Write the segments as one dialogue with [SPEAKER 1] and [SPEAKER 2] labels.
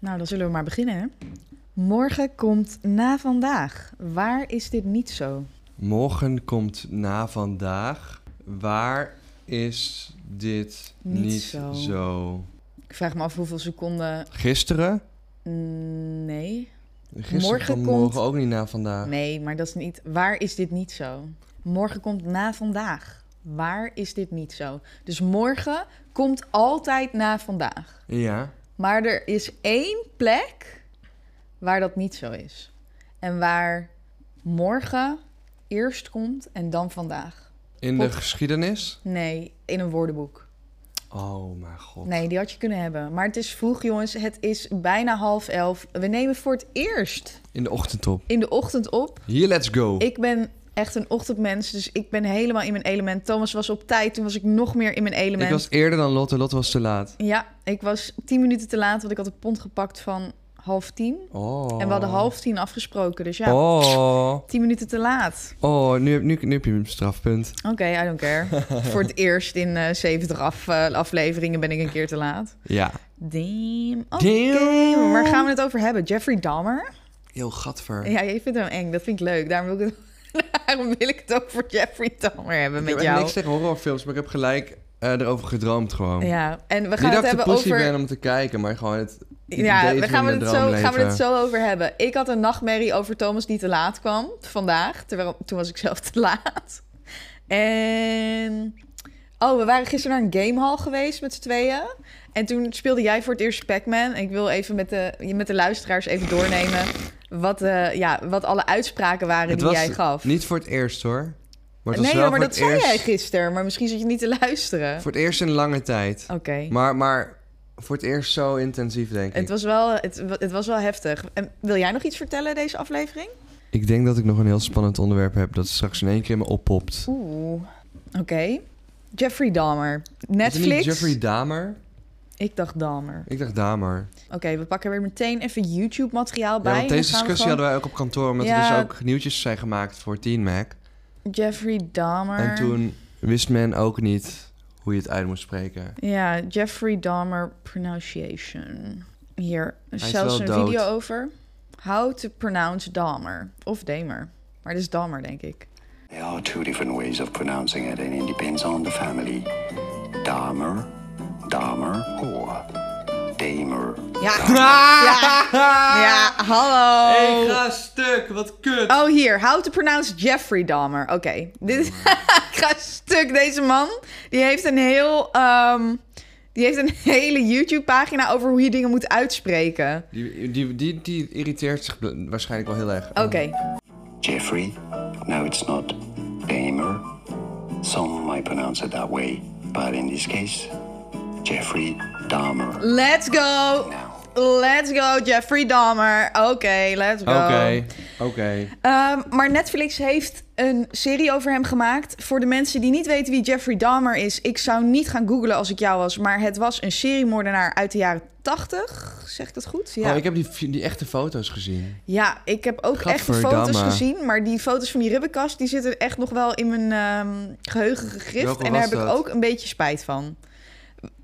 [SPEAKER 1] Nou, dan zullen we maar beginnen. Hè? Morgen komt na vandaag. Waar is dit niet zo?
[SPEAKER 2] Morgen komt na vandaag. Waar is dit
[SPEAKER 1] Niet
[SPEAKER 2] niet,
[SPEAKER 1] zo.
[SPEAKER 2] zo.
[SPEAKER 1] Ik vraag me af hoeveel seconden.
[SPEAKER 2] Gisteren?
[SPEAKER 1] Mm, Nee.
[SPEAKER 2] Gisteren
[SPEAKER 1] Morgen
[SPEAKER 2] kan
[SPEAKER 1] komt-
[SPEAKER 2] morgen ook niet na vandaag.
[SPEAKER 1] Nee, maar dat is niet. Waar is dit niet zo? Morgen komt na vandaag. Waar is dit niet zo? Dus morgen komt altijd na vandaag.
[SPEAKER 2] Ja.
[SPEAKER 1] Maar er is één plek waar dat niet zo is. En waar morgen eerst komt en dan vandaag.
[SPEAKER 2] In
[SPEAKER 1] Pot-
[SPEAKER 2] de geschiedenis?
[SPEAKER 1] Nee, in een woordenboek.
[SPEAKER 2] Oh mijn god.
[SPEAKER 1] Nee, die had je kunnen hebben. Maar het is vroeg, jongens. Het is bijna half elf. We nemen voor het eerst
[SPEAKER 2] In de ochtend op.
[SPEAKER 1] in de ochtend op.
[SPEAKER 2] Hier, let's go.
[SPEAKER 1] Ik ben echt een ochtendmens, dus ik ben helemaal in mijn element. Thomas was op tijd, toen was ik nog meer in mijn
[SPEAKER 2] Ik
[SPEAKER 1] element.
[SPEAKER 2] was eerder dan Lotte. Lotte was te laat.
[SPEAKER 1] Ja, ik was tien minuten te laat, want ik had een pond gepakt van half tien.
[SPEAKER 2] Oh.
[SPEAKER 1] En we hadden half tien afgesproken, dus ja.
[SPEAKER 2] Oh.
[SPEAKER 1] Tien minuten te laat.
[SPEAKER 2] Oh, nu, heb- nu, nu heb je een strafpunt.
[SPEAKER 1] Oké, I don't care. Voor het eerst in eh 70 af, eh, afleveringen ben ik een keer te laat.
[SPEAKER 2] Ja.
[SPEAKER 1] Damn. Oké,
[SPEAKER 2] Damn.
[SPEAKER 1] waar gaan we het over hebben? Jeffrey Dahmer?
[SPEAKER 2] Heel gatver.
[SPEAKER 1] Ja, je vindt hem eng. Dat vind ik leuk. Daarom wil ik het, daarom wil ik het over Jeffrey Dahmer hebben
[SPEAKER 2] ik
[SPEAKER 1] met
[SPEAKER 2] heb echt
[SPEAKER 1] jou.
[SPEAKER 2] niks tegen horrorfilms, maar ik heb gelijk eh, erover gedroomd gewoon.
[SPEAKER 1] Ja, en we gaan
[SPEAKER 2] Niet dat
[SPEAKER 1] het
[SPEAKER 2] ik te
[SPEAKER 1] hebben
[SPEAKER 2] pussy
[SPEAKER 1] over...
[SPEAKER 2] ben om te kijken, maar gewoon het... het
[SPEAKER 1] Ja,
[SPEAKER 2] idee
[SPEAKER 1] we
[SPEAKER 2] van
[SPEAKER 1] gaan, we
[SPEAKER 2] mijn
[SPEAKER 1] het zo, gaan we
[SPEAKER 2] droomleven.
[SPEAKER 1] het zo over hebben. Ik had een nachtmerrie over Thomas die te laat kwam vandaag. Terwijl toen was ik zelf te laat. En. Oh, we waren gisteren naar een gamehall geweest met z'n tweeën. En toen speelde jij voor het eerst Pac-Man. En ik wil even met de, met de luisteraars even doornemen. Wat, eh, ja, wat alle uitspraken waren
[SPEAKER 2] Het
[SPEAKER 1] die
[SPEAKER 2] was
[SPEAKER 1] jij gaf.
[SPEAKER 2] Niet voor het eerst hoor. Maar het was
[SPEAKER 1] nee,
[SPEAKER 2] wel
[SPEAKER 1] maar
[SPEAKER 2] voor
[SPEAKER 1] dat
[SPEAKER 2] het
[SPEAKER 1] zei
[SPEAKER 2] eerst,
[SPEAKER 1] jij gisteren. Maar misschien zat je niet te luisteren.
[SPEAKER 2] Voor het eerst in lange tijd.
[SPEAKER 1] Oké.
[SPEAKER 2] Maar, maar voor het eerst zo intensief, denk ik.
[SPEAKER 1] Het was, wel, het, wa- het was wel heftig. En wil jij nog iets vertellen deze aflevering?
[SPEAKER 2] Ik denk dat ik nog een heel spannend onderwerp heb dat straks in één keer me oppopt.
[SPEAKER 1] Oeh. Oké. Jeffrey Dahmer.
[SPEAKER 2] Is het
[SPEAKER 1] Netflix.
[SPEAKER 2] niet Jeffrey Dahmer?
[SPEAKER 1] Ik dacht Dahmer.
[SPEAKER 2] Ik dacht Dahmer.
[SPEAKER 1] Oké, we pakken er weer meteen even YouTube-materiaal bij.
[SPEAKER 2] Ja,
[SPEAKER 1] en
[SPEAKER 2] want
[SPEAKER 1] dan
[SPEAKER 2] deze
[SPEAKER 1] gaan we gewoon-
[SPEAKER 2] discussie hadden wij ook op kantoor, omdat
[SPEAKER 1] Ja.
[SPEAKER 2] er dus ook nieuwtjes zijn gemaakt voor Teen Mac.
[SPEAKER 1] Jeffrey Dahmer.
[SPEAKER 2] En toen wist men ook niet hoe je het uit moest spreken.
[SPEAKER 1] Ja, Jeffrey Dahmer pronunciation. Hier,
[SPEAKER 2] is
[SPEAKER 1] zelfs
[SPEAKER 2] wel
[SPEAKER 1] een
[SPEAKER 2] dood.
[SPEAKER 1] video over. How to pronounce Dahmer. Of Damer. Maar dit is Dahmer, denk ik.
[SPEAKER 3] There are two different ways of pronouncing it, and it depends on the family. Dahmer, Dahmer, or Damer.
[SPEAKER 1] Ja. Ja. Ja, hallo.
[SPEAKER 2] ga stuk, wat kut.
[SPEAKER 1] Oh, hier. How to pronounce Jeffrey Dahmer. Oké. Dit is...
[SPEAKER 2] Hmm.
[SPEAKER 1] Ik ga stuk. Deze man, die heeft een heel... ehm, die heeft een hele YouTube-pagina over hoe je dingen moet uitspreken.
[SPEAKER 2] Die, die, die, die irriteert zich bl- waarschijnlijk wel heel erg.
[SPEAKER 1] Oké.
[SPEAKER 3] Jeffrey? No, it's not Damer. Some might pronounce it that way, but in this case, Jeffrey Dahmer.
[SPEAKER 1] Let's go. Let's go, Jeffrey Dahmer. Oké, let's go.
[SPEAKER 2] Oké, oké.
[SPEAKER 1] Ehm, maar Netflix heeft een serie over hem gemaakt. Voor de mensen die niet weten wie Jeffrey Dahmer is, ik zou niet gaan googlen als ik jou was. Maar het was een seriemoordenaar uit de jaren 80. Zeg ik dat goed? Ja.
[SPEAKER 2] Oh, ik heb die, fi- die echte foto's gezien.
[SPEAKER 1] Ja, ik heb ook echte foto's
[SPEAKER 2] Gadverdamme.
[SPEAKER 1] gezien. Maar die foto's van die ribbenkast, die zitten echt nog wel in mijn ehm, geheugen gegrift.
[SPEAKER 2] Welke
[SPEAKER 1] en daar
[SPEAKER 2] was
[SPEAKER 1] heb ik
[SPEAKER 2] dat?
[SPEAKER 1] ook een beetje spijt van.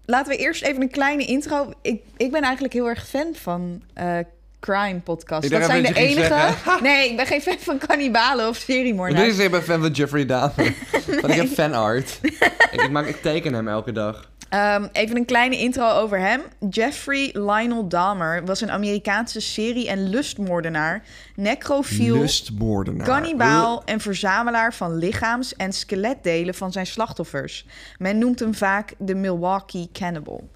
[SPEAKER 1] Laten we eerst even een kleine intro. Ik, ik ben eigenlijk heel erg fan van eh, crime podcasts.
[SPEAKER 2] Ik
[SPEAKER 1] Dat
[SPEAKER 2] dacht
[SPEAKER 1] zijn de
[SPEAKER 2] even dat je ging
[SPEAKER 1] enige... Nee, ik ben geen fan van kannibalen of
[SPEAKER 2] Dit
[SPEAKER 1] seriemoordenaars.
[SPEAKER 2] is even fan van Jeffrey Dahmer. Want ik heb fanart. ik, ik maak, ik teken hem elke dag.
[SPEAKER 1] Ehm, even een kleine intro over hem. Jeffrey Lionel Dahmer was een Amerikaanse serie- en lustmoordenaar. Necrofiel.
[SPEAKER 2] Lustmoordenaar.
[SPEAKER 1] Kannibaal en verzamelaar van lichaams- en skeletdelen van zijn slachtoffers. Men noemt hem vaak de Milwaukee Cannibal.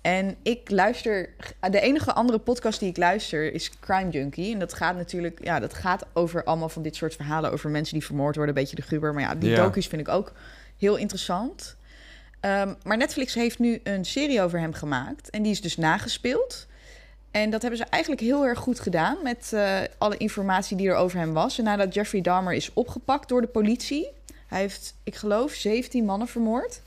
[SPEAKER 1] En ik luister. De enige andere podcast die ik luister is Crime Junkie. En dat gaat natuurlijk. Ja, dat gaat over allemaal van dit soort verhalen. Over mensen die vermoord worden. Een beetje de gruber. Maar ja, die
[SPEAKER 2] Ja.
[SPEAKER 1] docu's vind ik ook heel interessant. Ehm, maar Netflix heeft nu een serie over hem gemaakt. En die is dus nagespeeld. En dat hebben ze eigenlijk heel erg goed gedaan met eh, alle informatie die er over hem was. En nadat Jeffrey Dahmer is opgepakt door de politie, hij heeft, ik geloof, 17 mannen vermoord.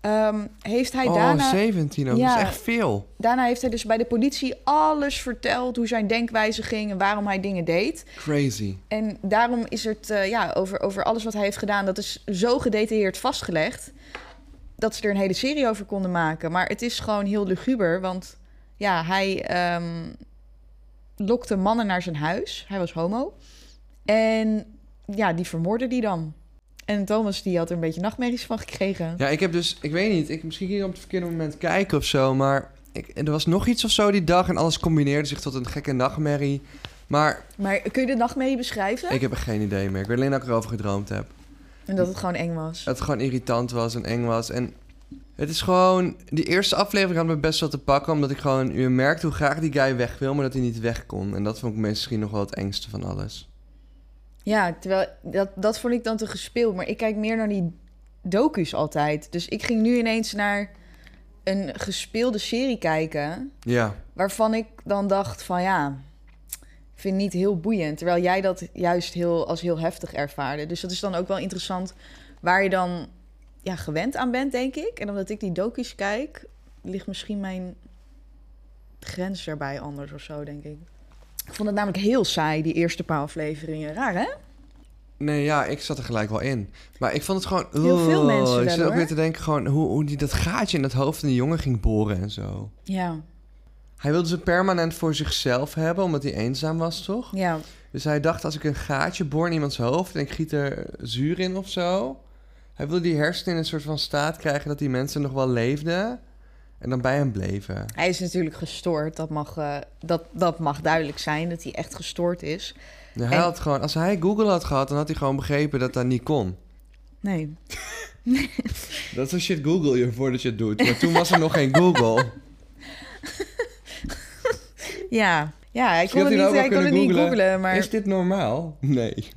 [SPEAKER 1] ehm, heeft hij
[SPEAKER 2] Oh,
[SPEAKER 1] daarna,
[SPEAKER 2] 17 ook.
[SPEAKER 1] Ja.
[SPEAKER 2] Dat is echt veel.
[SPEAKER 1] daarna heeft hij dus bij de politie alles verteld hoe zijn denkwijze ging en waarom hij dingen deed.
[SPEAKER 2] Crazy.
[SPEAKER 1] En daarom is het eh, ja, over, over alles wat hij heeft gedaan, dat is zo gedetailleerd vastgelegd. Dat ze er een hele serie over konden maken. Maar het is gewoon heel luguber. Want ja, hij ehm, lokte mannen naar zijn huis. Hij was homo. En ja, die vermoordde die dan. En Thomas die had er een beetje nachtmerries van gekregen.
[SPEAKER 2] Ja, ik heb dus, ik weet niet, ik, misschien ging ik op het verkeerde moment kijken of zo, maar ik, er was nog iets of zo die dag en alles combineerde zich tot een gekke nachtmerrie. Maar
[SPEAKER 1] Maar kun je de nachtmerrie beschrijven?
[SPEAKER 2] ik heb er geen idee meer. Ik weet alleen dat ik erover gedroomd heb.
[SPEAKER 1] En dat het gewoon eng was.
[SPEAKER 2] Dat het gewoon irritant was en eng was. En het is gewoon, die eerste aflevering had me best wel te pakken, omdat ik gewoon, je merkt hoe graag die guy weg wil, maar dat hij niet weg kon. En dat vond ik misschien nog wel het engste van alles.
[SPEAKER 1] Ja, terwijl dat, dat vond ik dan te gespeeld. Maar ik kijk meer naar die docu's altijd. Dus ik ging nu ineens naar een gespeelde serie kijken.
[SPEAKER 2] Ja.
[SPEAKER 1] Waarvan ik dan dacht van ja, ik vind niet heel boeiend. Terwijl jij dat juist heel, als heel heftig ervaarde. Dus dat is dan ook wel interessant waar je dan ja, gewend aan bent, denk ik. En omdat ik die docu's kijk, ligt misschien mijn grens daarbij anders of zo, denk ik. Ik vond het namelijk heel saai, die eerste paar afleveringen. Raar, hè?
[SPEAKER 2] Nee, ja, ik zat er gelijk wel in. Maar ik vond het gewoon...
[SPEAKER 1] Heel veel
[SPEAKER 2] oh,
[SPEAKER 1] mensen
[SPEAKER 2] Ik
[SPEAKER 1] wel,
[SPEAKER 2] zit ook
[SPEAKER 1] hoor.
[SPEAKER 2] weer te denken gewoon hoe, hoe die dat gaatje in dat hoofd van die jongen ging boren en zo.
[SPEAKER 1] Ja,
[SPEAKER 2] Hij wilde ze permanent voor zichzelf hebben, omdat hij eenzaam was, toch?
[SPEAKER 1] ja.
[SPEAKER 2] Dus hij dacht, als ik een gaatje boor in iemands hoofd en ik giet er zuur in of zo... Hij wilde die hersenen in een soort van staat krijgen dat die mensen nog wel leefden en dan bij hem bleven.
[SPEAKER 1] Hij is natuurlijk gestoord. Dat mag, eh, dat, dat mag duidelijk zijn, dat hij echt gestoord is.
[SPEAKER 2] Ja, hij
[SPEAKER 1] En-
[SPEAKER 2] had gewoon, als hij Google had gehad, dan had hij gewoon begrepen dat dat niet kon.
[SPEAKER 1] Nee.
[SPEAKER 2] Dat is shit Google je voordat je het doet. Maar toen was er nog geen Google.
[SPEAKER 1] Ja, ja ik
[SPEAKER 2] Misschien
[SPEAKER 1] kon het niet,
[SPEAKER 2] had hij nou ook wel
[SPEAKER 1] hij kon het
[SPEAKER 2] kunnen
[SPEAKER 1] niet
[SPEAKER 2] googlen.
[SPEAKER 1] googlen. Maar...
[SPEAKER 2] Is dit normaal? Nee.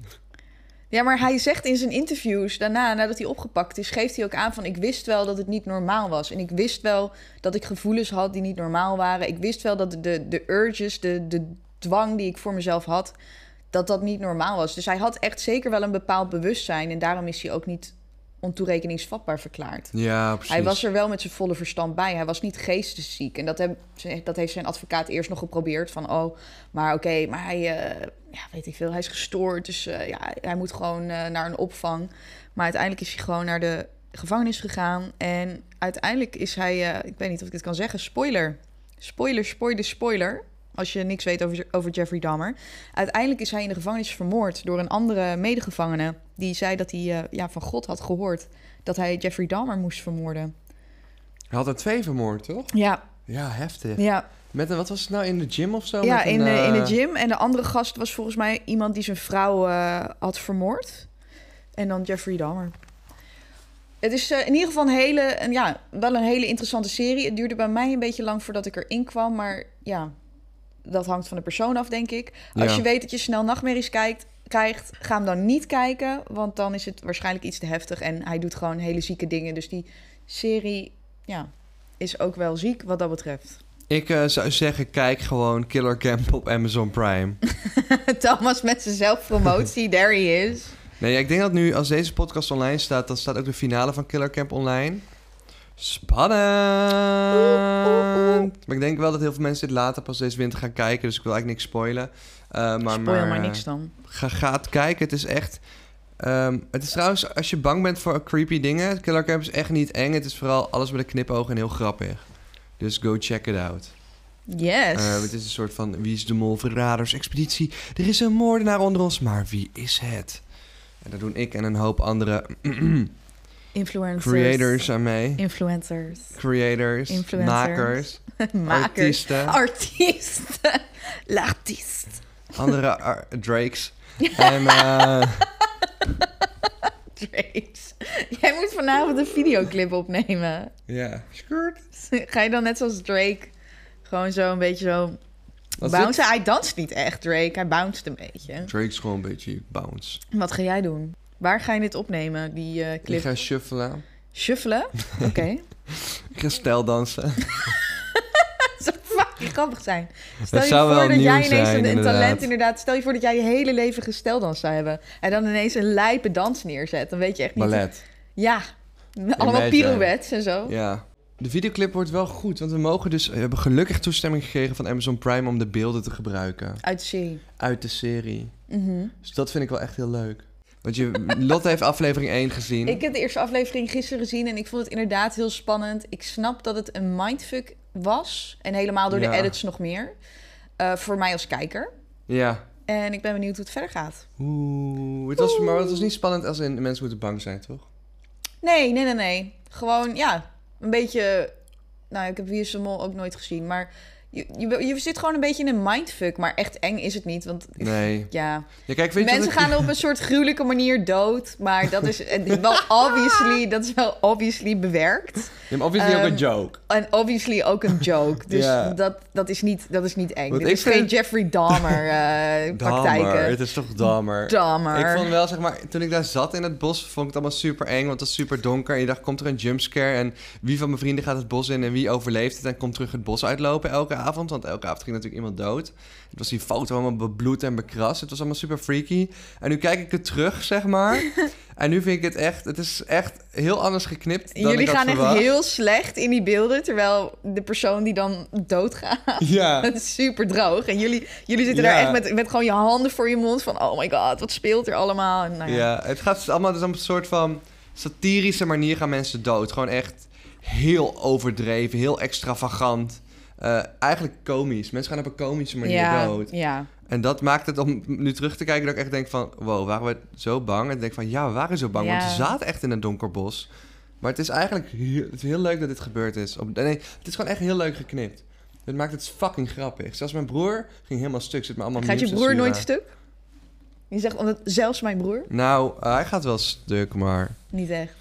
[SPEAKER 1] Ja, maar hij zegt in zijn interviews daarna, nadat hij opgepakt is, geeft hij ook aan van ik wist wel dat het niet normaal was. En ik wist wel dat ik gevoelens had die niet normaal waren. Ik wist wel dat de, de urges, de, de dwang die ik voor mezelf had, dat dat niet normaal was. Dus hij had echt zeker wel een bepaald bewustzijn en daarom is hij ook niet ontoerekeningsvatbaar verklaard.
[SPEAKER 2] Ja, precies.
[SPEAKER 1] Hij was er wel met zijn volle verstand bij. Hij was niet geestesziek. En dat, heb, dat heeft zijn advocaat eerst nog geprobeerd. Van, oh, maar oké, maar hij, eh, ja, weet ik veel, hij is gestoord. Dus eh, ja, hij moet gewoon eh, naar een opvang. Maar uiteindelijk is hij gewoon naar de gevangenis gegaan. En uiteindelijk is hij, eh, ik weet niet of ik dit kan zeggen, spoiler. Spoiler, spoiler, spoiler. Als je niks weet over, over Jeffrey Dahmer. Uiteindelijk is hij in de gevangenis vermoord door een andere medegevangene. Die zei dat hij eh, ja, van God had gehoord dat hij Jeffrey Dahmer moest vermoorden.
[SPEAKER 2] Hij had er twee vermoord, toch?
[SPEAKER 1] Ja,
[SPEAKER 2] Ja, heftig.
[SPEAKER 1] ja.
[SPEAKER 2] Met een, wat was het nou, in de gym of zo?
[SPEAKER 1] ja
[SPEAKER 2] Met een,
[SPEAKER 1] in, de, in de
[SPEAKER 2] eh,
[SPEAKER 1] gym. En de andere gast was volgens mij iemand die zijn vrouw eh, had vermoord. En dan Jeffrey Dahmer. Het is eh, in ieder geval een hele, een, ja, wel een hele interessante serie. Het duurde bij mij een beetje lang voordat ik erin kwam. Maar ja, dat hangt van de persoon af, denk ik. Als
[SPEAKER 2] Ja.
[SPEAKER 1] je weet dat je snel nachtmerries kijkt, krijgt, ga hem dan niet kijken. Want dan is het waarschijnlijk iets te heftig. En hij doet gewoon hele zieke dingen. Dus die serie ja, is ook wel ziek wat dat betreft.
[SPEAKER 2] Ik eh, zou zeggen, kijk gewoon Killer Camp op Amazon Prime.
[SPEAKER 1] Thomas met zijn zelfpromotie, there he is.
[SPEAKER 2] nee, ik denk dat nu, als deze podcast online staat, dan staat ook de finale van Killer Camp online. Spannend!
[SPEAKER 1] Oeh, oeh, oeh.
[SPEAKER 2] Maar ik denk wel dat heel veel mensen dit later pas deze winter gaan kijken, dus ik wil eigenlijk niks spoilen. Eh, maar,
[SPEAKER 1] Spoil maar,
[SPEAKER 2] maar, eh,
[SPEAKER 1] niks dan.
[SPEAKER 2] ga, ga het kijken. Het is echt. ehm, het is trouwens, als je bang bent voor creepy dingen, Killer Camp is echt niet eng. Het is vooral alles met een knipoog en heel grappig. Dus go check it out.
[SPEAKER 1] Yes.
[SPEAKER 2] Eh, het is een soort van wie is de mol, verraders, expeditie. Er is een moordenaar onder ons, maar wie is het? En daar doen ik en een hoop andere
[SPEAKER 1] Influencers.
[SPEAKER 2] creators aan mee.
[SPEAKER 1] Influencers.
[SPEAKER 2] Creators,
[SPEAKER 1] Influencers.
[SPEAKER 2] makers,
[SPEAKER 1] Makers. Oh.
[SPEAKER 2] artiesten,
[SPEAKER 1] Artiesten. L'artist.
[SPEAKER 2] andere ar- Drakes. En eh,
[SPEAKER 1] Drakes. Jij moet vanavond een videoclip opnemen.
[SPEAKER 2] ja, skirt.
[SPEAKER 1] Ga je dan net zoals Drake gewoon zo een beetje zo...
[SPEAKER 2] Wat is dit?
[SPEAKER 1] Bouncen? Hij danst niet echt, Drake. Hij bounced een beetje.
[SPEAKER 2] Drake is gewoon een beetje bounce.
[SPEAKER 1] Wat ga jij doen? Waar ga je dit opnemen, die eh,
[SPEAKER 2] Ik
[SPEAKER 1] clip?
[SPEAKER 2] ga shuffelen.
[SPEAKER 1] Shuffelen? Oké.
[SPEAKER 2] Ik ga stijl dansen.
[SPEAKER 1] Dat zou fucking grappig zijn. Stel je
[SPEAKER 2] zou
[SPEAKER 1] voor
[SPEAKER 2] wel
[SPEAKER 1] dat
[SPEAKER 2] nieuw
[SPEAKER 1] jij ineens een,
[SPEAKER 2] zijn,
[SPEAKER 1] een talent
[SPEAKER 2] inderdaad.
[SPEAKER 1] inderdaad... Stel je voor dat jij je hele leven gesteldans zou hebben... en dan ineens een lijpe dans neerzet. Dan weet je echt niet...
[SPEAKER 2] Ballet.
[SPEAKER 1] Ja, allemaal
[SPEAKER 2] Imagine.
[SPEAKER 1] pirouettes en zo.
[SPEAKER 2] Ja. De videoclip wordt wel goed, want we mogen dus... We hebben gelukkig toestemming gekregen van Amazon Prime om de beelden te gebruiken.
[SPEAKER 1] Uit de serie.
[SPEAKER 2] Uit de serie.
[SPEAKER 1] Mhm.
[SPEAKER 2] Dus dat vind ik wel echt heel leuk. Want je, Lotte heeft aflevering 1 gezien.
[SPEAKER 1] Ik heb de eerste aflevering gisteren gezien... en ik vond het inderdaad heel spannend. Ik snap dat het een mindfuck was. En helemaal door
[SPEAKER 2] Ja.
[SPEAKER 1] de edits nog meer. Eh, voor mij als kijker.
[SPEAKER 2] Ja.
[SPEAKER 1] En ik ben benieuwd hoe het verder gaat.
[SPEAKER 2] Oeh, het was, maar het was niet spannend als in de mensen moeten bang zijn, toch?
[SPEAKER 1] Nee, nee, nee, nee. Gewoon, ja, een beetje... Nou, ik heb Wie is de Mol ook nooit gezien, maar... Je, je, je zit gewoon een beetje in een mindfuck, maar echt eng is het niet, want...
[SPEAKER 2] Nee.
[SPEAKER 1] Ja,
[SPEAKER 2] Ja, kijk, weet je
[SPEAKER 1] mensen
[SPEAKER 2] wat ik-
[SPEAKER 1] gaan op een soort gruwelijke manier dood, maar dat is eh, wel obviously, dat is wel obviously bewerkt.
[SPEAKER 2] Ja, maar obviously ook
[SPEAKER 1] Ehm,
[SPEAKER 2] een joke.
[SPEAKER 1] En obviously ook een joke, dus
[SPEAKER 2] Ja.
[SPEAKER 1] dat, dat, is niet, dat is niet eng.
[SPEAKER 2] Want
[SPEAKER 1] Dit
[SPEAKER 2] ik
[SPEAKER 1] is geen
[SPEAKER 2] vind-
[SPEAKER 1] Jeffrey Dahmer eh
[SPEAKER 2] Dammer.
[SPEAKER 1] praktijken.
[SPEAKER 2] Het is toch dammer.
[SPEAKER 1] Dahmer.
[SPEAKER 2] Ik vond wel, zeg maar, toen ik daar zat in het bos, vond ik het allemaal super eng, want het was super donker. En je dacht, komt er een jumpscare? En wie van mijn vrienden gaat het bos in en wie overleeft het en komt terug het bos uitlopen elke avond? Want elke avond ging natuurlijk iemand dood. Het was die foto allemaal bebloed en bekrast. Het was allemaal super freaky. En nu kijk ik het terug, zeg maar. en nu vind ik het echt, het is echt heel anders geknipt dan
[SPEAKER 1] Jullie
[SPEAKER 2] ik had
[SPEAKER 1] gaan echt
[SPEAKER 2] verwacht.
[SPEAKER 1] heel slecht in die beelden, terwijl de persoon die dan doodgaat,
[SPEAKER 2] Ja.
[SPEAKER 1] het is super droog. En jullie, jullie zitten
[SPEAKER 2] Ja.
[SPEAKER 1] daar echt met, met gewoon je handen voor je mond van, oh my god, wat speelt er allemaal? En nou ja.
[SPEAKER 2] Ja, het gaat allemaal dus op een soort van satirische manier gaan mensen dood. Gewoon echt heel overdreven, heel extravagant. Eh, eigenlijk komisch. Mensen gaan op een komische manier
[SPEAKER 1] ja,
[SPEAKER 2] dood.
[SPEAKER 1] ja.
[SPEAKER 2] En dat maakt het om nu terug te kijken dat ik echt denk van... Wow, waren we zo bang? En ik denk van ja, we waren zo bang.
[SPEAKER 1] Ja.
[SPEAKER 2] Want we zaten echt in een donker bos. Maar het is eigenlijk heel, het is heel leuk dat dit gebeurd is. Op, nee, het is gewoon echt heel leuk geknipt. Het maakt het fucking grappig. Zelfs mijn broer ging helemaal stuk. Zit me allemaal
[SPEAKER 1] Gaat je
[SPEAKER 2] memes en
[SPEAKER 1] broer
[SPEAKER 2] sturen.
[SPEAKER 1] nooit stuk? Je zegt omdat zelfs mijn broer?
[SPEAKER 2] Nou, hij gaat wel stuk, maar...
[SPEAKER 1] Niet echt.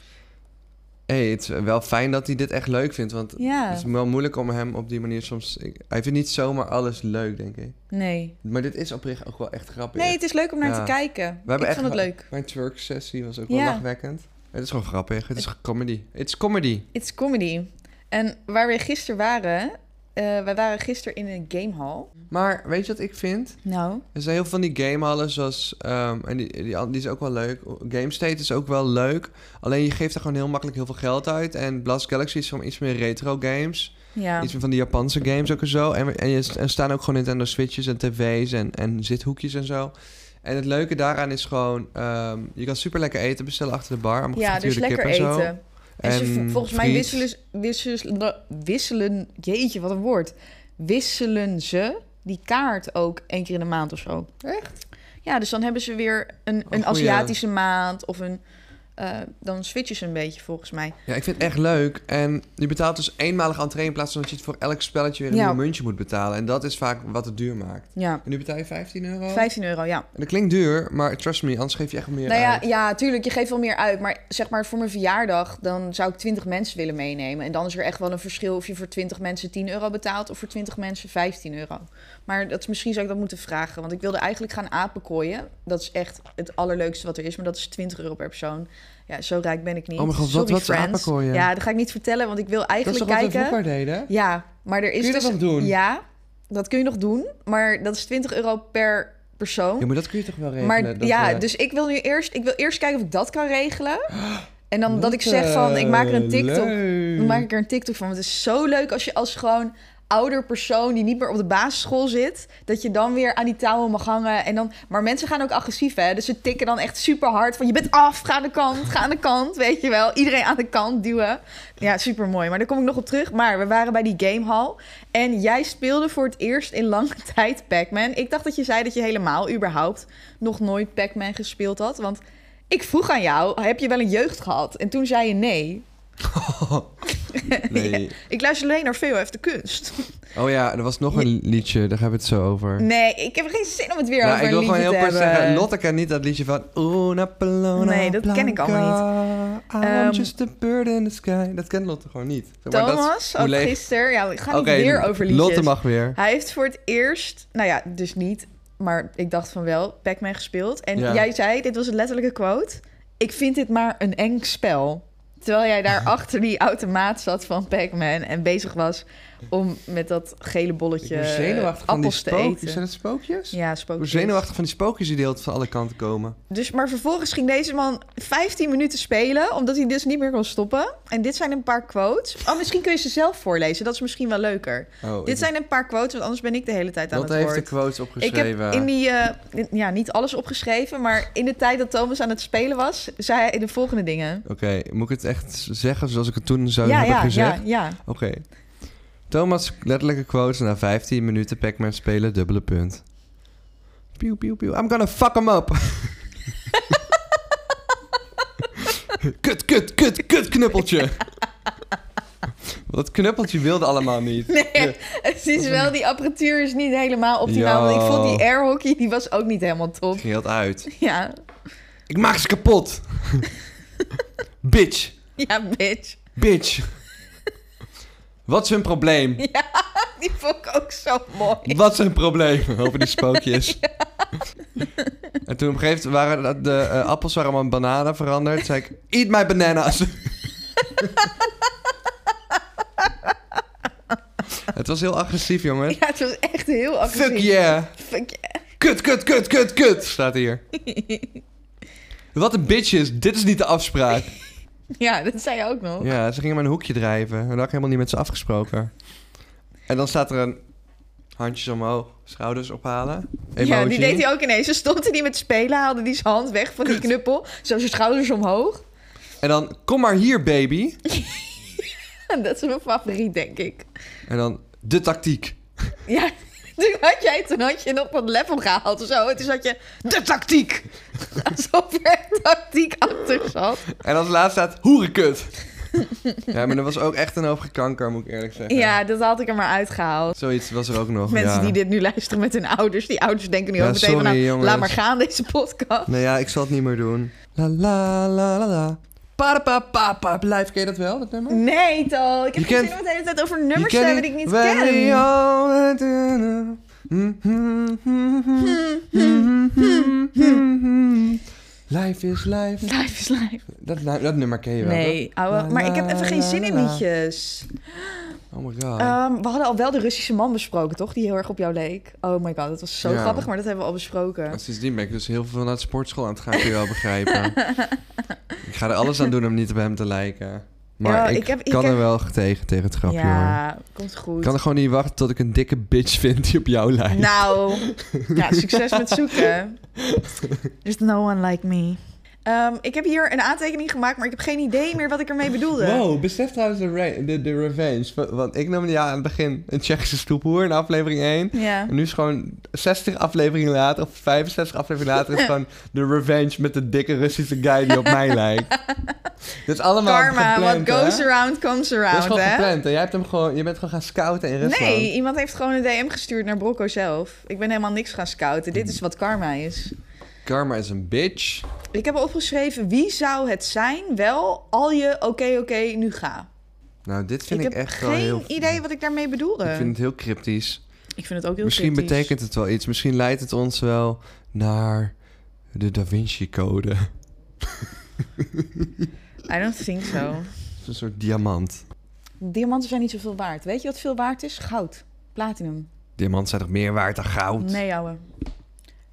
[SPEAKER 2] Hey, het is wel fijn dat hij dit echt leuk vindt. Want
[SPEAKER 1] Ja.
[SPEAKER 2] het is wel moeilijk om hem op die manier soms. ik- hij vindt niet zomaar alles leuk, denk ik.
[SPEAKER 1] Nee.
[SPEAKER 2] Maar dit is oprecht ook wel echt grappig.
[SPEAKER 1] Nee, het is leuk om naar
[SPEAKER 2] Ja.
[SPEAKER 1] te kijken.
[SPEAKER 2] We
[SPEAKER 1] ik
[SPEAKER 2] hebben echt
[SPEAKER 1] vond het
[SPEAKER 2] wel-
[SPEAKER 1] leuk.
[SPEAKER 2] Mijn twerk-sessie was ook
[SPEAKER 1] Ja.
[SPEAKER 2] wel lachwekkend. Het is gewoon grappig. Het is comedy. Het is comedy.
[SPEAKER 1] It's comedy. En waar we gisteren waren... eh, wij waren gisteren in een gamehall.
[SPEAKER 2] Maar weet je wat ik vind?
[SPEAKER 1] Nou.
[SPEAKER 2] Er zijn heel veel van die gamehallen zoals... ehm, en die, die, die is ook wel leuk. GameState is ook wel leuk. Alleen je geeft er gewoon heel makkelijk heel veel geld uit. En Blast Galaxy is gewoon iets meer retro games.
[SPEAKER 1] Ja.
[SPEAKER 2] Iets van die Japanse games ook en zo. En, we- en je- er staan ook gewoon Nintendo Switches en tv's en, en zithoekjes en zo. En het leuke daaraan is gewoon... ehm, je kan super lekker eten bestellen achter de bar. Allemaal
[SPEAKER 1] Ja, dus
[SPEAKER 2] gefrituurde
[SPEAKER 1] lekker
[SPEAKER 2] kip en
[SPEAKER 1] eten.
[SPEAKER 2] zo.
[SPEAKER 1] En, ze, vo- volgens mij
[SPEAKER 2] friet.
[SPEAKER 1] wisselen, ze- wisselen, wisselen... Jeetje, wat een woord. Wisselen ze die kaart ook één keer in de maand of zo. Echt? Ja, dus dan hebben ze weer een, een
[SPEAKER 2] goeie.
[SPEAKER 1] Aziatische maand of een... eh, dan switchen ze een beetje volgens mij.
[SPEAKER 2] Ja, ik vind het echt leuk. En je betaalt dus eenmalig entree in plaats van dat je het voor elk spelletje weer een
[SPEAKER 1] Ja.
[SPEAKER 2] nieuw muntje moet betalen. En dat is vaak wat het duur maakt.
[SPEAKER 1] Ja,
[SPEAKER 2] En nu betaal je 15 euro?
[SPEAKER 1] 15 euro, ja.
[SPEAKER 2] En Dat klinkt duur, maar trust me, anders geef je echt meer
[SPEAKER 1] nou ja,
[SPEAKER 2] uit.
[SPEAKER 1] ja, tuurlijk, je geeft wel meer uit. Maar zeg maar, voor mijn verjaardag, dan zou ik 20 mensen willen meenemen. En dan is er echt wel een verschil of je voor 20 mensen 10 euro betaalt... of voor 20 mensen 15 euro. Maar dat is, misschien zou ik dat moeten vragen. Want ik wilde eigenlijk gaan apenkooien. Dat is echt het allerleukste wat er is. Maar dat is 20 euro per persoon. Ja, zo rijk ben ik niet.
[SPEAKER 2] Oh mijn god, wat-
[SPEAKER 1] Sorry,
[SPEAKER 2] wat is
[SPEAKER 1] friends.
[SPEAKER 2] apenkooien?
[SPEAKER 1] Ja, dat ga ik niet vertellen, want ik wil
[SPEAKER 2] Dat is
[SPEAKER 1] eigenlijk
[SPEAKER 2] toch wat we
[SPEAKER 1] kijken...
[SPEAKER 2] vroeger deden?
[SPEAKER 1] Ja, maar er is
[SPEAKER 2] Kun je dat
[SPEAKER 1] dus...
[SPEAKER 2] nog doen?
[SPEAKER 1] Ja, dat kun je nog doen. Maar dat is 20 euro per persoon.
[SPEAKER 2] Ja, maar dat kun je toch wel regelen?
[SPEAKER 1] Maar
[SPEAKER 2] dat,
[SPEAKER 1] ja,
[SPEAKER 2] eh,
[SPEAKER 1] dus ik wil nu eerst, ik wil eerst kijken of ik dat kan regelen. En dan dat ik
[SPEAKER 2] Wat,
[SPEAKER 1] zeg van, ik maak er een
[SPEAKER 2] eh,
[SPEAKER 1] TikTok.
[SPEAKER 2] leuk.
[SPEAKER 1] Dan maak ik er een TikTok van. Want het is zo leuk als je als gewoon ouder persoon die niet meer op de basisschool zit, dat je dan weer aan die touwen mag hangen. En dan, maar mensen gaan ook agressief, hè? Dus ze tikken dan echt super hard van, je bent af, ga aan de kant, ga aan de kant, weet je wel? Iedereen aan de kant duwen. Ja, super mooi. Maar daar kom ik nog op terug. Maar we waren bij die gamehall en jij speelde voor het eerst in lange tijd Pac-Man. Ik dacht dat je zei dat je helemaal überhaupt nog nooit Pac-Man gespeeld had, want ik vroeg aan jou, heb je wel een jeugd gehad? En toen zei je nee.
[SPEAKER 2] Nee.
[SPEAKER 1] Ik luister alleen naar VOF de kunst.
[SPEAKER 2] Oh ja, er was nog een liedje, daar hebben we het zo over.
[SPEAKER 1] Nee, ik heb geen zin om het weer
[SPEAKER 2] Nou,
[SPEAKER 1] over
[SPEAKER 2] ik wil
[SPEAKER 1] een
[SPEAKER 2] gewoon
[SPEAKER 1] liedje
[SPEAKER 2] heel
[SPEAKER 1] te
[SPEAKER 2] kort
[SPEAKER 1] hebben.
[SPEAKER 2] zeggen, Lotte kent niet dat liedje van Una Palona
[SPEAKER 1] Nee, dat ken ik allemaal
[SPEAKER 2] niet. I'm
[SPEAKER 1] Ehm,
[SPEAKER 2] just a bird in the sky. Dat kent Lotte gewoon niet. Zeg maar, dat is
[SPEAKER 1] Thomas,
[SPEAKER 2] hoe
[SPEAKER 1] ook
[SPEAKER 2] leeg-
[SPEAKER 1] gisteren. Ja, ik ga niet
[SPEAKER 2] Oké,
[SPEAKER 1] weer over liedjes.
[SPEAKER 2] Lotte mag weer.
[SPEAKER 1] Hij heeft voor het eerst, nou ja, dus niet, maar ik dacht van wel, Pac-Man gespeeld. En
[SPEAKER 2] Ja.
[SPEAKER 1] jij zei, dit was het letterlijke quote, ik vind dit maar een eng spel. Terwijl jij daar achter die automaat zat van Pac-Man en bezig was om met dat gele
[SPEAKER 2] Ik
[SPEAKER 1] bolletje
[SPEAKER 2] word
[SPEAKER 1] eh, appels
[SPEAKER 2] zenuwachtig van die
[SPEAKER 1] te eten.
[SPEAKER 2] spookjes. Zijn het spookjes?
[SPEAKER 1] Ja,
[SPEAKER 2] Ik word
[SPEAKER 1] spookjes.
[SPEAKER 2] zenuwachtig van die spookjes die de hele tijd van alle kanten komen.
[SPEAKER 1] Dus, maar vervolgens ging deze man 15 minuten spelen, omdat hij dus niet meer kon stoppen. En dit zijn een paar quotes. Oh, misschien kun je ze zelf voorlezen. Dat is misschien wel leuker.
[SPEAKER 2] Oh, ik-
[SPEAKER 1] dit zijn een paar quotes, want anders ben ik de hele tijd aan
[SPEAKER 2] Lotte
[SPEAKER 1] het
[SPEAKER 2] heeft
[SPEAKER 1] woord.
[SPEAKER 2] de quotes
[SPEAKER 1] ik heb
[SPEAKER 2] opgeschreven.
[SPEAKER 1] in die, eh, in- ja, niet alles opgeschreven, maar in de tijd dat Thomas aan het spelen was, zei hij de volgende dingen.
[SPEAKER 2] Oké, moet ik het echt zeggen zoals ik het toen zou
[SPEAKER 1] ja,
[SPEAKER 2] hebben
[SPEAKER 1] ja,
[SPEAKER 2] gezegd?
[SPEAKER 1] ja, ja.
[SPEAKER 2] Oké. Thomas' letterlijke quotes na 15 minuten Pac-Man spelen, dubbele punt. Pew, pew, pew. I'm gonna fuck him up. kut, kut, kut, kut knuppeltje. Dat knuppeltje wilde allemaal niet.
[SPEAKER 1] Nee, het is wel, die apparatuur is niet helemaal optimaal. Want ik
[SPEAKER 2] Ja.
[SPEAKER 1] vond die air hockey, die was ook niet helemaal top.
[SPEAKER 2] Ging dat uit.
[SPEAKER 1] Ja,
[SPEAKER 2] Ik maak ze kapot. bitch,
[SPEAKER 1] ja bitch.
[SPEAKER 2] bitch. Wat is hun probleem?
[SPEAKER 1] Die vond ik ook zo mooi.
[SPEAKER 2] Wat zijn problemen over die spookjes? En toen op een gegeven moment waren dat de eh, appels waren allemaal in bananen veranderd. zei ik, eat my bananas. Het was heel agressief, jongen.
[SPEAKER 1] Ja, het was echt heel agressief.
[SPEAKER 2] Fuck yeah.
[SPEAKER 1] Fuck yeah.
[SPEAKER 2] Kut, kut, kut, kut, kut, staat hier. Wat een bitch is. Dit is niet de afspraak.
[SPEAKER 1] Ja, dat zei je ook nog.
[SPEAKER 2] Ja, ze gingen maar een hoekje drijven. En dat had ik helemaal niet met ze afgesproken. En dan staat er een handjes omhoog, schouders ophalen. Emoji.
[SPEAKER 1] Ja, die deed hij ook ineens. Ze stond er niet met spelen, haalde die zijn hand weg van die knuppel. Zo zijn schouders omhoog.
[SPEAKER 2] En dan, kom maar hier, baby.
[SPEAKER 1] Dat is mijn favoriet, denk ik.
[SPEAKER 2] En dan, de tactiek.
[SPEAKER 1] Ja, toen had jij toen had je nog wat level gehaald of zo. En toen zat je, de tactiek! Alsof er tactiek achter zat.
[SPEAKER 2] En als laatste staat, hoerenkut. ja, maar er was ook echt een hoop gekanker, moet ik eerlijk zeggen.
[SPEAKER 1] Ja, dat had ik er maar uitgehaald.
[SPEAKER 2] Zoiets was er ook nog,
[SPEAKER 1] Mensen
[SPEAKER 2] ja.
[SPEAKER 1] die dit nu luisteren met hun ouders, die ouders denken nu
[SPEAKER 2] Ja,
[SPEAKER 1] ook meteen van,
[SPEAKER 2] sorry,
[SPEAKER 1] nou,
[SPEAKER 2] jongens.
[SPEAKER 1] laat maar gaan deze podcast.
[SPEAKER 2] Nou ja, ik zal het niet meer doen. La la la la la. Parapapapa, blijf, ken je dat wel, dat nummer?
[SPEAKER 1] Nee, Tal. Ik heb
[SPEAKER 2] Je
[SPEAKER 1] geen zin
[SPEAKER 2] kent-
[SPEAKER 1] om het de hele tijd over
[SPEAKER 2] Je
[SPEAKER 1] nummers te
[SPEAKER 2] kent
[SPEAKER 1] hebben die ik niet ken.
[SPEAKER 2] Life is life.
[SPEAKER 1] Life is life.
[SPEAKER 2] Dat, dat nummer ken je wel.
[SPEAKER 1] Nee,
[SPEAKER 2] toch?
[SPEAKER 1] ouwe,
[SPEAKER 2] La,
[SPEAKER 1] maar ik heb
[SPEAKER 2] la,
[SPEAKER 1] even geen
[SPEAKER 2] la,
[SPEAKER 1] zin in
[SPEAKER 2] la.
[SPEAKER 1] liedjes.
[SPEAKER 2] Oh my god.
[SPEAKER 1] Ehm, we hadden al wel de Russische man besproken, toch? Die heel erg op jou leek. Oh my god, dat was zo
[SPEAKER 2] Ja.
[SPEAKER 1] grappig, maar dat hebben we al besproken.
[SPEAKER 2] En Sindsdien ben ik dus heel veel naar de sportschool aan het gaan, kun je wel begrijpen. ik ga er alles aan doen om niet op hem te lijken. Maar
[SPEAKER 1] Ja,
[SPEAKER 2] ik,
[SPEAKER 1] ik heb- ik
[SPEAKER 2] kan er
[SPEAKER 1] heb-
[SPEAKER 2] wel tegen, tegen het grapje hoor.
[SPEAKER 1] Ja, komt goed.
[SPEAKER 2] Ik kan er gewoon niet wachten tot ik een dikke bitch vind die op jou lijkt.
[SPEAKER 1] Nou, ja, succes met zoeken. There's no one like me. Ehm, ik heb hier een aantekening gemaakt, maar ik heb geen idee meer wat ik ermee bedoelde.
[SPEAKER 2] Wow, besef trouwens de, re- de, de revenge. Wa- Want ik noemde ja aan het begin een Tsjechische stoephoer in aflevering 1.
[SPEAKER 1] Ja.
[SPEAKER 2] En nu is gewoon 60 afleveringen later, of 65 afleveringen later, is gewoon de revenge met de dikke Russische guy die op mij lijkt. Dit is allemaal
[SPEAKER 1] Karma,
[SPEAKER 2] gepland,
[SPEAKER 1] what goes
[SPEAKER 2] hè?
[SPEAKER 1] around comes
[SPEAKER 2] Dat is
[SPEAKER 1] around,
[SPEAKER 2] gewoon
[SPEAKER 1] hè?
[SPEAKER 2] gepland. En jij hebt hem gewoon, je bent gewoon gaan scouten in Rusland.
[SPEAKER 1] Nee, iemand heeft gewoon een DM gestuurd naar Brocco zelf. Ik ben helemaal niks gaan scouten. Dit is wat karma is.
[SPEAKER 2] Karma is een bitch.
[SPEAKER 1] Ik heb opgeschreven, wie zou het zijn? Wel, al je oké, oké, nu ga.
[SPEAKER 2] Nou, dit vind ik,
[SPEAKER 1] ik heb
[SPEAKER 2] echt wel
[SPEAKER 1] geen
[SPEAKER 2] heel...
[SPEAKER 1] idee wat ik daarmee bedoelde.
[SPEAKER 2] Ik vind het heel cryptisch.
[SPEAKER 1] het ook heel
[SPEAKER 2] Misschien
[SPEAKER 1] kritisch.
[SPEAKER 2] betekent het wel iets. Misschien leidt het ons wel naar de Da Vinci Code.
[SPEAKER 1] I don't think so.
[SPEAKER 2] Het is Een soort diamant.
[SPEAKER 1] Diamanten zijn niet zoveel waard. Weet je wat veel waard is? Goud. Platinum.
[SPEAKER 2] Diamant zijn toch meer waard dan goud?
[SPEAKER 1] Nee, ouwe.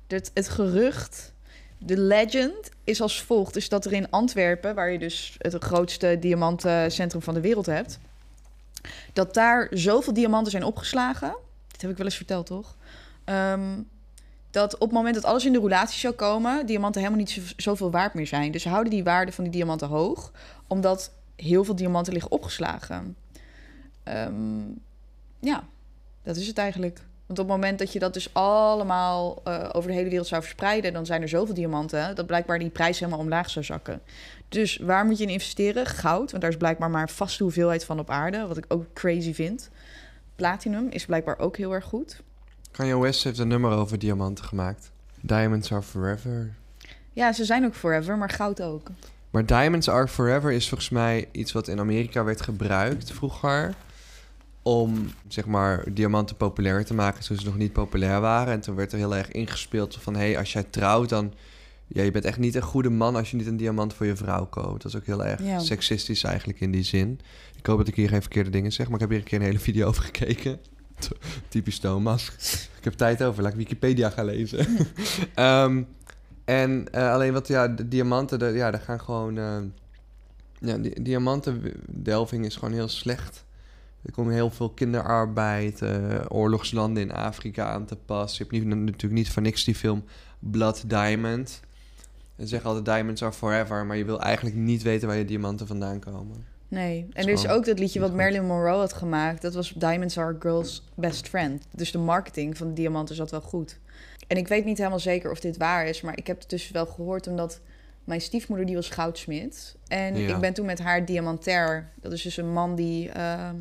[SPEAKER 1] Het, het gerucht, de legend, is als volgt. Is dat er in Antwerpen, waar je dus het grootste diamantencentrum van de wereld hebt... dat daar zoveel diamanten zijn opgeslagen. Dit heb ik wel eens verteld, toch? Ehm, dat op het moment dat alles in de roulatie zou komen... diamanten helemaal niet zo- zoveel waard meer zijn. Dus ze houden die waarde van die diamanten hoog... omdat heel veel diamanten liggen opgeslagen. Ehm, ja, dat is het eigenlijk. Want op het moment dat je dat dus allemaal eh, over de hele wereld zou verspreiden, dan zijn er zoveel diamanten dat blijkbaar die prijs helemaal omlaag zou zakken. Dus waar moet je in investeren? Goud, want daar is blijkbaar maar een vaste hoeveelheid van op aarde, wat ik ook crazy vind. Platinum is blijkbaar ook heel erg goed.
[SPEAKER 2] Kanye West heeft een nummer over diamanten gemaakt. Diamonds are forever.
[SPEAKER 1] Ja, ze zijn ook forever, maar goud ook.
[SPEAKER 2] Maar Diamonds are forever is volgens mij iets wat in Amerika werd gebruikt vroeger. Om zeg maar diamanten populair te maken toen ze nog niet populair waren. En toen werd er heel erg ingespeeld van: hé, hey, als jij trouwt, dan. Ja, je bent echt niet een goede man als je niet een diamant voor je vrouw koopt. Dat is ook heel erg
[SPEAKER 1] Ja.
[SPEAKER 2] seksistisch eigenlijk in die zin. Ik hoop dat ik hier geen verkeerde dingen zeg, maar ik heb hier een keer een hele video over gekeken. Typisch Thomas. Ik heb tijd over, laat ik Wikipedia gaan lezen. Ehm, en eh, alleen wat, ja, de diamanten, de, ja, daar gaan gewoon... eh, ja, di- diamantendelving is gewoon heel slecht. Er komt heel veel kinderarbeid, eh, oorlogslanden in Afrika aan te pas. Je hebt niet, natuurlijk niet voor niks die film Blood Diamond. En ze zeggen altijd diamonds are forever, maar je wil eigenlijk niet weten waar je diamanten vandaan komen.
[SPEAKER 1] Nee. En er is
[SPEAKER 2] gewoon
[SPEAKER 1] ook dat liedje
[SPEAKER 2] niet
[SPEAKER 1] wat Marilyn Monroe had gemaakt. Dat was Diamonds Are a Girl's Best Friend. Dus de marketing van de diamanten zat wel goed. En ik weet niet helemaal zeker of dit waar is. Maar ik heb het dus wel gehoord omdat mijn stiefmoeder die was goudsmid. En
[SPEAKER 2] Ja.
[SPEAKER 1] ik ben toen met haar diamantair. Dat is dus een man die ehm,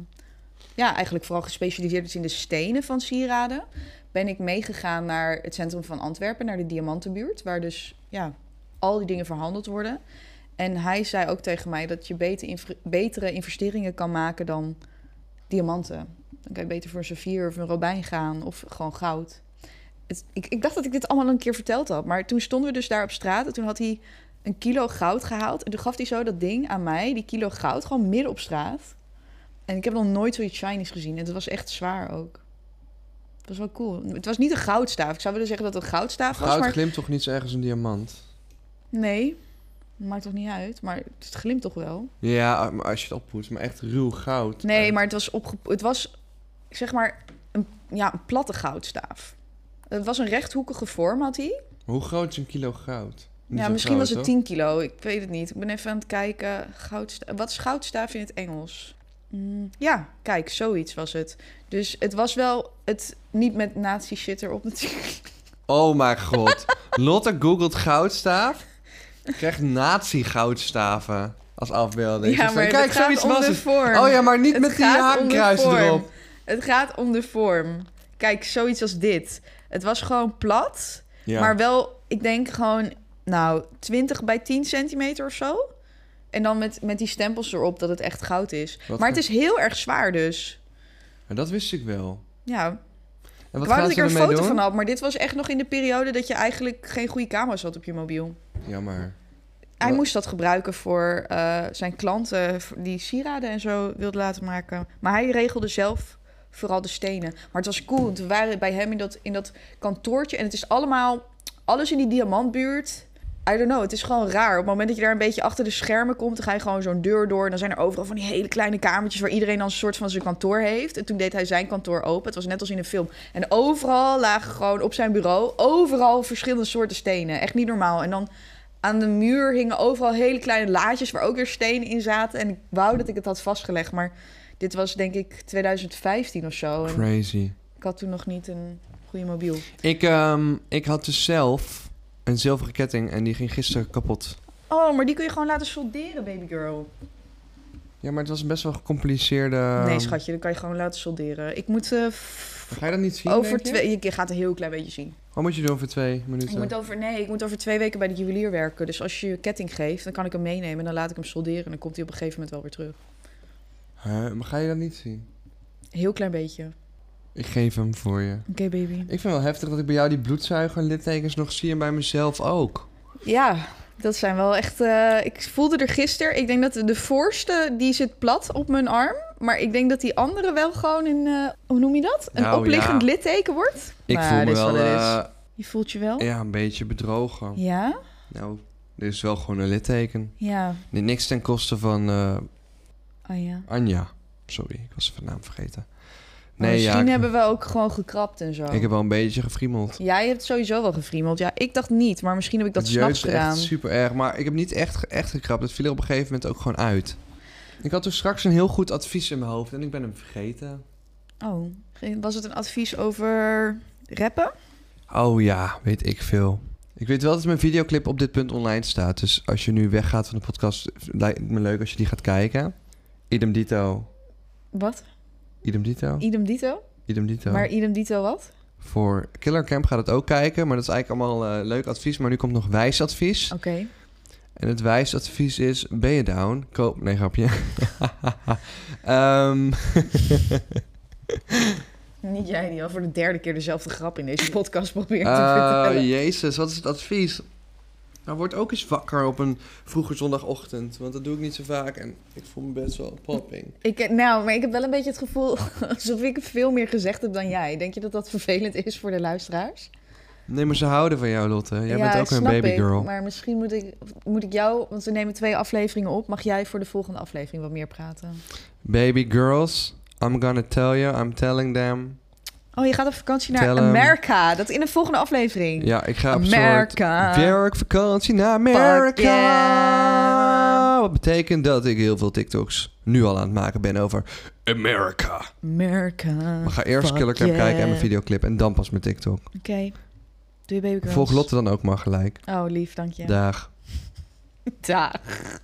[SPEAKER 1] ja, eigenlijk vooral gespecialiseerd is in de stenen van sieraden. Ben ik meegegaan naar het centrum van Antwerpen, naar de diamantenbuurt. Waar dus ja, al die dingen verhandeld worden. En hij zei ook tegen mij dat je beter inv- betere investeringen kan maken dan diamanten. Dan kan je beter voor een saffier of een robijn gaan of gewoon goud. Het, ik, ik dacht dat ik dit allemaal een keer verteld had. Maar toen stonden we dus daar op straat en toen had hij een kilo goud gehaald. En toen gaf hij zo dat ding aan mij, die kilo goud, gewoon midden op straat. En ik heb nog nooit zoiets shinies gezien. En het was echt zwaar ook. Het was wel cool. Het was niet een goudstaaf. Ik zou willen zeggen dat het een goudstaaf was.
[SPEAKER 2] Goud
[SPEAKER 1] Maar
[SPEAKER 2] glimt toch niet zo erg als een diamant?
[SPEAKER 1] Nee, maakt toch niet uit. Maar het glimt toch wel.
[SPEAKER 2] Ja, maar als je het oppoetst, maar echt ruw goud. Eh,
[SPEAKER 1] Nee, maar het was, opge... het was zeg maar een, ja, een platte goudstaaf. Het was een rechthoekige vorm, had hij.
[SPEAKER 2] Hoe groot is een kilo goud? Niet
[SPEAKER 1] ja,
[SPEAKER 2] zo
[SPEAKER 1] misschien
[SPEAKER 2] groot,
[SPEAKER 1] was het
[SPEAKER 2] toch?
[SPEAKER 1] 10 kilo. Ik weet het niet. Ik ben even aan het kijken. Goudsta Wat is goudstaaf in het Engels? Mm, ja, kijk, zoiets was het. Dus het was wel het niet met nazi-shit erop natuurlijk.
[SPEAKER 2] Oh mijn god. Lotte googelt goudstaaf. Krijgt nazi-goudstaven als afbeelding.
[SPEAKER 1] Ja,
[SPEAKER 2] Ze
[SPEAKER 1] maar
[SPEAKER 2] zei, Kijk,
[SPEAKER 1] het gaat
[SPEAKER 2] zoiets
[SPEAKER 1] om
[SPEAKER 2] was
[SPEAKER 1] de
[SPEAKER 2] het.
[SPEAKER 1] vorm.
[SPEAKER 2] Oh ja, maar niet
[SPEAKER 1] Het
[SPEAKER 2] met die
[SPEAKER 1] gaat om de
[SPEAKER 2] hakenkruis
[SPEAKER 1] vorm.
[SPEAKER 2] erop.
[SPEAKER 1] Het gaat om de vorm. Kijk, zoiets als dit. Het was gewoon plat,
[SPEAKER 2] Ja.
[SPEAKER 1] maar wel, ik denk gewoon, nou, 20 bij 10 centimeter of zo. En dan met, met die stempels erop dat het echt goud is.
[SPEAKER 2] Wat
[SPEAKER 1] maar
[SPEAKER 2] ge-
[SPEAKER 1] het is heel erg zwaar dus.
[SPEAKER 2] Maar dat wist ik wel.
[SPEAKER 1] Ja,
[SPEAKER 2] En wat
[SPEAKER 1] ik wou
[SPEAKER 2] gaan
[SPEAKER 1] dat ik
[SPEAKER 2] ze
[SPEAKER 1] er een
[SPEAKER 2] ermee
[SPEAKER 1] foto
[SPEAKER 2] doen?
[SPEAKER 1] van had, maar dit was echt nog in de periode dat je eigenlijk geen goede camera's had op je mobiel.
[SPEAKER 2] Jammer.
[SPEAKER 1] Hij
[SPEAKER 2] Wat-
[SPEAKER 1] moest dat gebruiken voor eh, zijn klanten v- die sieraden en zo wilde laten maken. Maar hij regelde zelf vooral de stenen. Maar het was cool. want We waren bij hem in dat, in dat kantoortje en het is allemaal alles in die diamantbuurt. I don't know, het is gewoon raar. Op het moment dat je daar een beetje achter de schermen komt, dan ga je gewoon zo'n deur door. En dan zijn er overal van die hele kleine kamertjes waar iedereen dan een soort van zijn kantoor heeft. En toen deed hij zijn kantoor open. Het was net als in een film. En overal lagen gewoon op zijn bureau, overal verschillende soorten stenen. Echt niet normaal. En dan aan de muur hingen overal hele kleine laadjes waar ook weer stenen in zaten. En ik wou dat ik het had vastgelegd, maar dit was denk ik 2015 of zo. En
[SPEAKER 2] Crazy.
[SPEAKER 1] ik had toen nog niet een goede mobiel.
[SPEAKER 2] Ik, ehm, ik had dus zelf een zilveren ketting en die ging gisteren kapot.
[SPEAKER 1] Oh, maar die kun je gewoon laten solderen, baby girl.
[SPEAKER 2] Ja, maar het was een best wel gecompliceerde... ehm,
[SPEAKER 1] nee, schatje, dat kan je gewoon laten solderen. Ik moet eh, f-
[SPEAKER 2] Ga je dat niet zien,
[SPEAKER 1] over
[SPEAKER 2] denk je?
[SPEAKER 1] twee... Je gaat een heel klein beetje zien.
[SPEAKER 2] Wat moet je doen voor twee minuten?
[SPEAKER 1] Ik moet over, nee, ik moet over twee weken bij de juwelier werken. Dus als je je ketting geeft, dan kan ik hem meenemen. En dan laat ik hem solderen. En dan komt hij op een gegeven moment wel weer terug.
[SPEAKER 2] Huh, maar ga je dat niet zien?
[SPEAKER 1] Een heel klein beetje. Oké,
[SPEAKER 2] Ik geef hem voor je.
[SPEAKER 1] baby.
[SPEAKER 2] Ik vind wel heftig dat ik bij jou die bloedzuiger littekens nog zie en bij mezelf ook.
[SPEAKER 1] Ja, dat zijn wel echt. eh, ik voelde er gisteren. Ik denk dat de voorste die zit plat op mijn arm. Maar ik denk dat die andere wel gewoon een. eh, hoe noem je dat? Een
[SPEAKER 2] Nou,
[SPEAKER 1] opliggend
[SPEAKER 2] ja.
[SPEAKER 1] litteken wordt.
[SPEAKER 2] Ik
[SPEAKER 1] Maar
[SPEAKER 2] voel me
[SPEAKER 1] dit is
[SPEAKER 2] wel
[SPEAKER 1] wat het
[SPEAKER 2] eh,
[SPEAKER 1] Je voelt je wel?
[SPEAKER 2] ja, een beetje bedrogen.
[SPEAKER 1] Ja?
[SPEAKER 2] Nou, er is wel gewoon een litteken.
[SPEAKER 1] Ja.
[SPEAKER 2] Nee, niks ten koste van eh,
[SPEAKER 1] Oh ja.
[SPEAKER 2] Anja. Sorry, ik was even naam vergeten.
[SPEAKER 1] Maar
[SPEAKER 2] Nee, ja,
[SPEAKER 1] Oh, misschien
[SPEAKER 2] ik,
[SPEAKER 1] hebben we ook gewoon gekrapt en zo.
[SPEAKER 2] ik heb wel een beetje gefriemeld.
[SPEAKER 1] Jij hebt sowieso wel gefriemeld. Ja, ik dacht niet, maar misschien heb ik dat
[SPEAKER 2] Het
[SPEAKER 1] s'nachts
[SPEAKER 2] jeukte echt
[SPEAKER 1] gedaan.
[SPEAKER 2] super erg, maar ik heb niet echt, ge- echt gekrapt. Het viel er op een gegeven moment ook gewoon uit. Ik had toen straks een heel goed advies in mijn hoofd en ik ben hem vergeten.
[SPEAKER 1] Oh, was het een advies over rappen?
[SPEAKER 2] Oh ja, weet ik veel. Ik weet wel dat mijn videoclip op dit punt online staat. Dus als je nu weggaat van de podcast, lijkt het me leuk als je die gaat kijken. Idem dito.
[SPEAKER 1] Wat?
[SPEAKER 2] Idem dito.
[SPEAKER 1] Idem dito?
[SPEAKER 2] Idem dito.
[SPEAKER 1] Maar idem dito wat?
[SPEAKER 2] Voor Killer Camp gaat het ook kijken, maar dat is eigenlijk allemaal eh, leuk advies. Maar nu komt nog wijs advies.
[SPEAKER 1] Oké.
[SPEAKER 2] En het wijs advies is, ben je down? Koop... Nee, grapje. Ehm,
[SPEAKER 1] Niet jij die al voor de derde keer dezelfde grap in deze podcast probeert te
[SPEAKER 2] Oh,
[SPEAKER 1] vertellen.
[SPEAKER 2] jezus, wat is het advies? Nou, word ook eens wakker op een vroege zondagochtend, want dat doe ik niet zo vaak en ik voel me best wel popping.
[SPEAKER 1] Ik, nou, maar ik heb wel een beetje het gevoel alsof ik veel meer gezegd heb dan jij. Denk je dat dat vervelend is voor de luisteraars?
[SPEAKER 2] Nee, maar ze houden van jou, Lotte. Jij
[SPEAKER 1] Ja,
[SPEAKER 2] bent ook een
[SPEAKER 1] snap ik,
[SPEAKER 2] babygirl.
[SPEAKER 1] Maar misschien moet ik, moet ik jou, want we nemen twee afleveringen op. Mag jij voor de volgende aflevering wat meer praten?
[SPEAKER 2] Baby girls, I'm gonna tell you, I'm telling them.
[SPEAKER 1] Oh, je gaat op vakantie
[SPEAKER 2] Tell
[SPEAKER 1] naar
[SPEAKER 2] 'em.
[SPEAKER 1] Amerika. Dat in de volgende aflevering.
[SPEAKER 2] Ja, ik ga op
[SPEAKER 1] Amerika.
[SPEAKER 2] soort werkvakantie naar Amerika.
[SPEAKER 1] Fuck yeah.
[SPEAKER 2] Wat betekent dat ik heel veel TikToks nu al aan het maken ben over America.
[SPEAKER 1] America.
[SPEAKER 2] Maar ga eerst
[SPEAKER 1] fuck
[SPEAKER 2] Killer Cam
[SPEAKER 1] yeah.
[SPEAKER 2] kijken en mijn videoclip en dan pas mijn TikTok.
[SPEAKER 1] Oké. Doe je baby girls.
[SPEAKER 2] Volg Lotte dan ook maar gelijk.
[SPEAKER 1] Oh, lief, dank je.
[SPEAKER 2] Daag.
[SPEAKER 1] Daag.